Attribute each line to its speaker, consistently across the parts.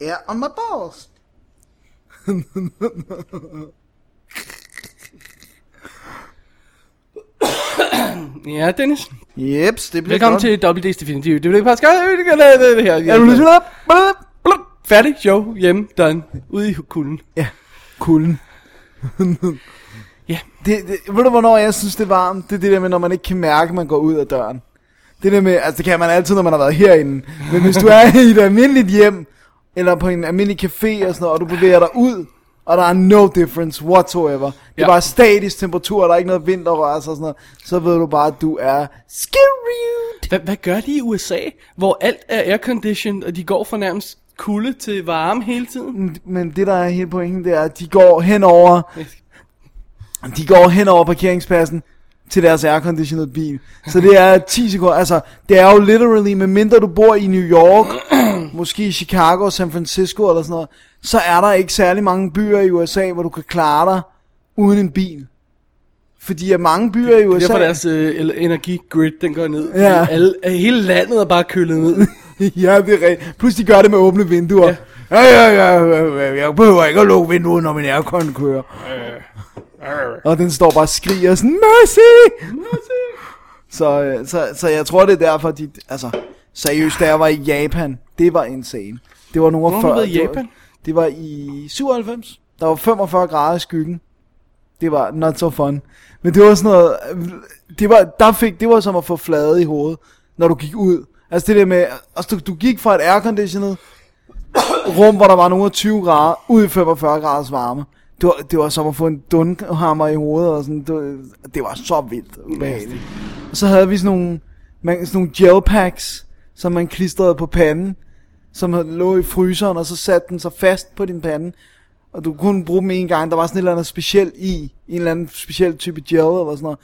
Speaker 1: air on my balls.
Speaker 2: Ja, Dennis.
Speaker 1: Jeps, det bliver
Speaker 2: Velkommen
Speaker 1: godt.
Speaker 2: til Double D's Definitive. Det er det podcast. Det er det, det her.
Speaker 1: Er du lyttet op? Blup, blup.
Speaker 2: Færdig, show, hjemme, done. Ude i kulden.
Speaker 1: Ja, kulden.
Speaker 2: Ja.
Speaker 1: Det, det, ved du, hvornår jeg synes, det er varmt? Det er det der med, når man ikke kan mærke, at man går ud af døren. Det der med, altså det kan man altid, når man har været herinde. Men hvis du er i et almindeligt hjem, eller på en almindelig café og sådan noget, og du bevæger dig ud, og der er no difference whatsoever. Det er
Speaker 2: Ja.
Speaker 1: ja. bare statisk temperatur, og der er ikke noget vind, der rører sig og sådan noget. Så ved du bare, at du er skirryd.
Speaker 2: Hvad, hvad gør de i USA, hvor alt er airconditioned, og de går fra nærmest kulde til varme hele tiden?
Speaker 1: Men det, der er hele pointen, det er, at de går hen over De går hen over parkeringspladsen til deres airconditioned bil. Så det er 10 sekunder. Altså, det er jo literally, medmindre du bor i New York, måske i Chicago, San Francisco eller sådan noget, så er der ikke særlig mange byer i USA, hvor du kan klare dig uden en bil. Fordi at mange byer i
Speaker 2: Det er
Speaker 1: USA...
Speaker 2: derfor deres øh, el- energigrid, den går ned.
Speaker 1: Ja.
Speaker 2: Alle, øh, hele landet er bare kølet ned.
Speaker 1: ja, det er rigtigt. Plus de gør det med åbne vinduer. Ja. Ja, ja, ja, ja, jeg behøver ikke at lukke vinduet, når min aircon kører. Og den står bare og skriger sådan, Mercy! Så, øh, så, så jeg tror, det er derfor, de, altså, seriøst, da jeg var i Japan, det var insane. Det var nogle
Speaker 2: Hvor
Speaker 1: af
Speaker 2: har du
Speaker 1: før-
Speaker 2: været i
Speaker 1: det var-
Speaker 2: Japan?
Speaker 1: Det var i 97. Der var 45 grader i skyggen. Det var not so fun. Men det var sådan noget, det var, der fik, det var som at få flade i hovedet, når du gik ud. Altså det der med, altså du, du gik fra et airconditioned rum, hvor der var nogle af 20 grader, ud i 45 graders varme. Det var, det var som at få en dunhammer i hovedet, og sådan, det, var- det var så vildt ubehageligt. Og så havde vi sådan nogle, man, sådan nogle gel packs, som man klistrede på panden, som lå i fryseren, og så satte den sig fast på din pande. Og du kunne bruge dem en gang, der var sådan et eller andet specielt i, en eller anden speciel type gel eller sådan noget.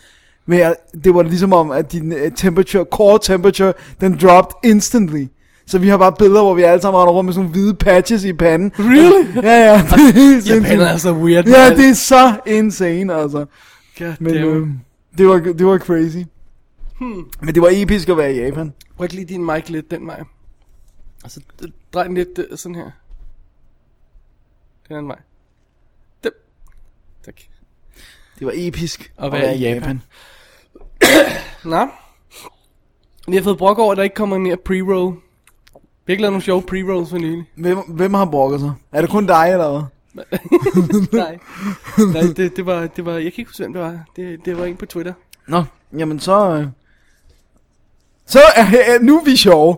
Speaker 1: Men jeg, det var ligesom om, at din øh, temperature, core temperature, den dropped instantly. Så vi har bare billeder, hvor vi alle sammen render rundt med sådan nogle hvide patches i panden.
Speaker 2: Really?
Speaker 1: Ja, ja. Det er helt
Speaker 2: Japan er
Speaker 1: sindssygt.
Speaker 2: så weird.
Speaker 1: Ja, det er så insane, altså.
Speaker 2: God
Speaker 1: Men
Speaker 2: damn.
Speaker 1: øh, det, var, det var crazy. Hmm. Men det var episk at være i Japan.
Speaker 2: Ryk lige din mic lidt den vej. Altså, d- drej den lidt øh, sådan her. Den anden vej. Dem. Tak.
Speaker 1: Det var episk
Speaker 2: At være i Japan. Nå. Vi har fået brok over, at der ikke kommer mere pre-roll. Vi har ikke lavet nogle sjove pre-rolls for nylig.
Speaker 1: Hvem, hvem har brokket sig? Er det kun dig, eller hvad?
Speaker 2: Nej. Nej, det, det, var, det var, jeg kan ikke huske, hvem det var. Det, det var en på Twitter.
Speaker 1: Nå. Jamen så... Øh... Så er, er, nu er vi sjove.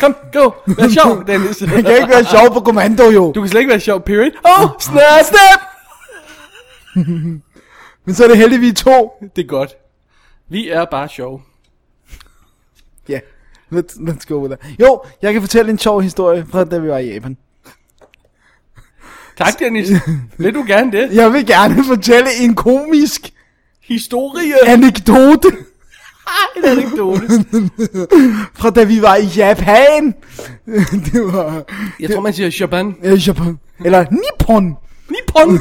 Speaker 2: Kom, go. Vær sjov, Dennis.
Speaker 1: Jeg kan ikke være sjov på kommando, jo.
Speaker 2: Du kan slet ikke være sjov, period. Åh, oh,
Speaker 1: snap, snap! Men så er det heldigt, vi er to.
Speaker 2: det er godt. Vi er bare sjov.
Speaker 1: Ja, yeah. let's, let's go with that. Jo, jeg kan fortælle en sjov historie fra da vi var i Japan.
Speaker 2: Tak, Dennis. Vil du gerne det?
Speaker 1: Jeg vil gerne fortælle en komisk
Speaker 2: Historie.
Speaker 1: anekdote
Speaker 2: En anekdote.
Speaker 1: fra da vi var i Japan. det var...
Speaker 2: Jeg tror, man siger Japan.
Speaker 1: Øh, Japan. Eller Nippon.
Speaker 2: Nippon.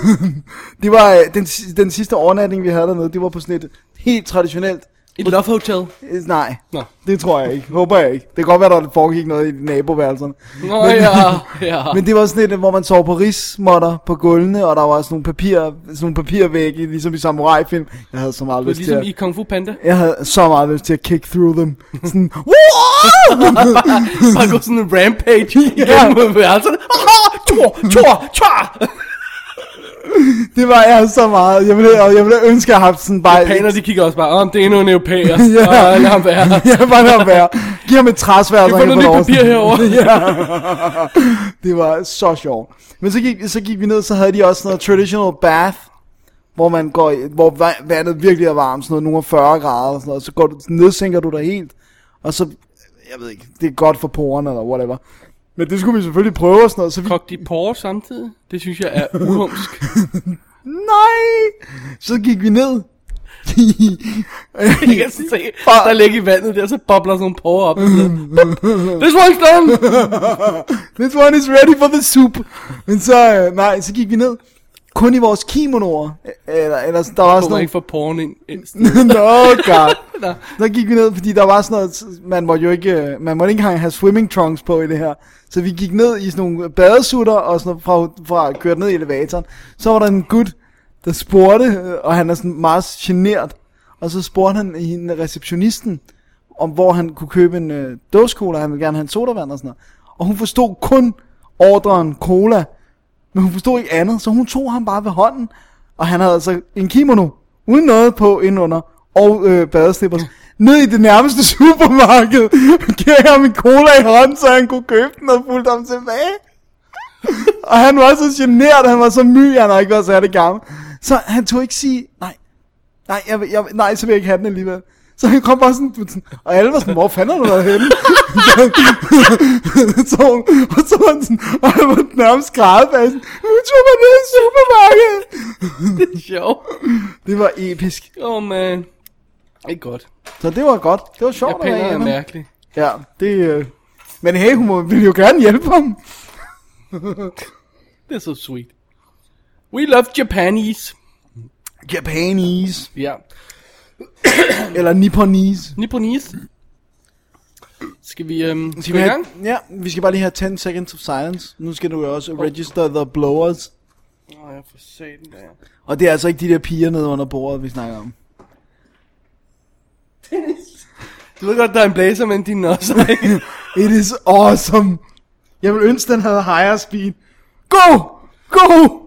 Speaker 1: Det var øh, den, si- den sidste overnatning, vi havde dernede. Det var på sådan et helt traditionelt...
Speaker 2: Et love hotel.
Speaker 1: Øh, nej,
Speaker 2: Nå.
Speaker 1: det tror jeg ikke. Håber jeg ikke. Det kan godt være, der foregik noget i naboværelserne.
Speaker 2: Nå ja, ja.
Speaker 1: Men det var sådan et, hvor man sov på rismotter på gulvene, og der var sådan nogle, papir, sådan nogle papirvægge, ligesom i samurai-film. Jeg havde så meget
Speaker 2: Det er
Speaker 1: lyst til
Speaker 2: ligesom
Speaker 1: at...
Speaker 2: i Kung Fu Panda.
Speaker 1: Jeg havde så meget lyst til at kick through them. Sådan, wow!
Speaker 2: Bare gå sådan en rampage igennem yeah. værelserne. Ah, Tor, tor, tor.
Speaker 1: det var jeg så meget. Jeg ville, og jeg ville ønske, at jeg havde haft sådan bare...
Speaker 2: Japaner, de kigger også bare, om det er endnu en europæer.
Speaker 1: Ja.
Speaker 2: Åh, lad ham være.
Speaker 1: jeg vil bare lade være. Giv ham et træsvær,
Speaker 2: Vi
Speaker 1: så
Speaker 2: har
Speaker 1: han
Speaker 2: fundet
Speaker 1: kan få
Speaker 2: nyt
Speaker 1: lov.
Speaker 2: papir herovre.
Speaker 1: Det var så sjovt. Men så gik, så gik vi ned, så havde de også noget traditional bath, hvor man går, i- hvor va- vandet virkelig er varmt, sådan noget, nogle af 40 grader og sådan noget, så går du, så nedsænker du dig helt, og så, jeg ved ikke, det er godt for porerne eller whatever. Men det skulle vi selvfølgelig prøve og sådan noget, så vi,
Speaker 2: Kogte de porre samtidig? Det synes jeg er uhumsk.
Speaker 1: nej, så gik vi ned.
Speaker 2: Jeg kan se, der ligger i vandet der, så bobler sådan nogle porre op. og sådan noget. Bup. This one's done.
Speaker 1: This one is ready for the soup. Men så, øh, nej, så gik vi ned. kun i vores kimonoer. Eller, eller der var
Speaker 2: Kommer
Speaker 1: sådan
Speaker 2: ikke for porn ind. ind-
Speaker 1: noget... Nå, god.
Speaker 2: Nå.
Speaker 1: Så gik vi ned, fordi der var sådan noget, man måtte jo ikke, øh, man måtte ikke engang have swimming trunks på i det her. Så vi gik ned i sådan nogle badesutter, og sådan noget fra, fra kørt ned i elevatoren. Så var der en gut, der spurgte, øh, og han er sådan meget generet. Og så spurgte han hende, receptionisten, om hvor han kunne købe en øh, dåse cola, han ville gerne have en sodavand og sådan noget. Og hun forstod kun ordren cola, men hun forstod ikke andet, så hun tog ham bare ved hånden, og han havde altså en kimono, uden noget på indenunder, og øh, badeslippers, ned i det nærmeste supermarked, gav ham en cola i hånden, så han kunne købe den og fulgte ham tilbage. og han var så generet, han var så my, han har ikke været særlig gammel. Så han tog ikke sige, nej, nej, jeg, vil- jeg, vil- nej, så vil jeg ikke have den alligevel. Så han kom bare sådan, sådan- og alle var sådan, hvor fanden har du været henne? så, hun- og så var han sådan, og han var nærmest grædebasset. Nu tog mig ned i supermarkedet.
Speaker 2: Det er sjovt.
Speaker 1: Det var episk.
Speaker 2: Åh, oh, man. Ikke godt.
Speaker 1: Så det var godt. Det var sjovt
Speaker 2: Japaner er
Speaker 1: hjemme.
Speaker 2: mærkelige.
Speaker 1: Ja, det... Øh... Men hey, hun må- ville jo gerne hjælpe ham.
Speaker 2: Det er så sweet. We love Japanese.
Speaker 1: Japanese.
Speaker 2: Ja. Yeah.
Speaker 1: Eller Nipponese.
Speaker 2: Nipponese. Skal vi, øhm, skal vi i
Speaker 1: have,
Speaker 2: gang?
Speaker 1: ja, vi skal bare lige have 10 seconds of silence. Nu skal du jo også register the blowers.
Speaker 2: Åh, oh, jeg får satan der.
Speaker 1: Og det er altså ikke de der piger nede under bordet, vi snakker om.
Speaker 2: Du ved godt, der er en blazer, men din også ikke.
Speaker 1: It is awesome. Jeg vil ønske, den havde higher speed. Go! Go!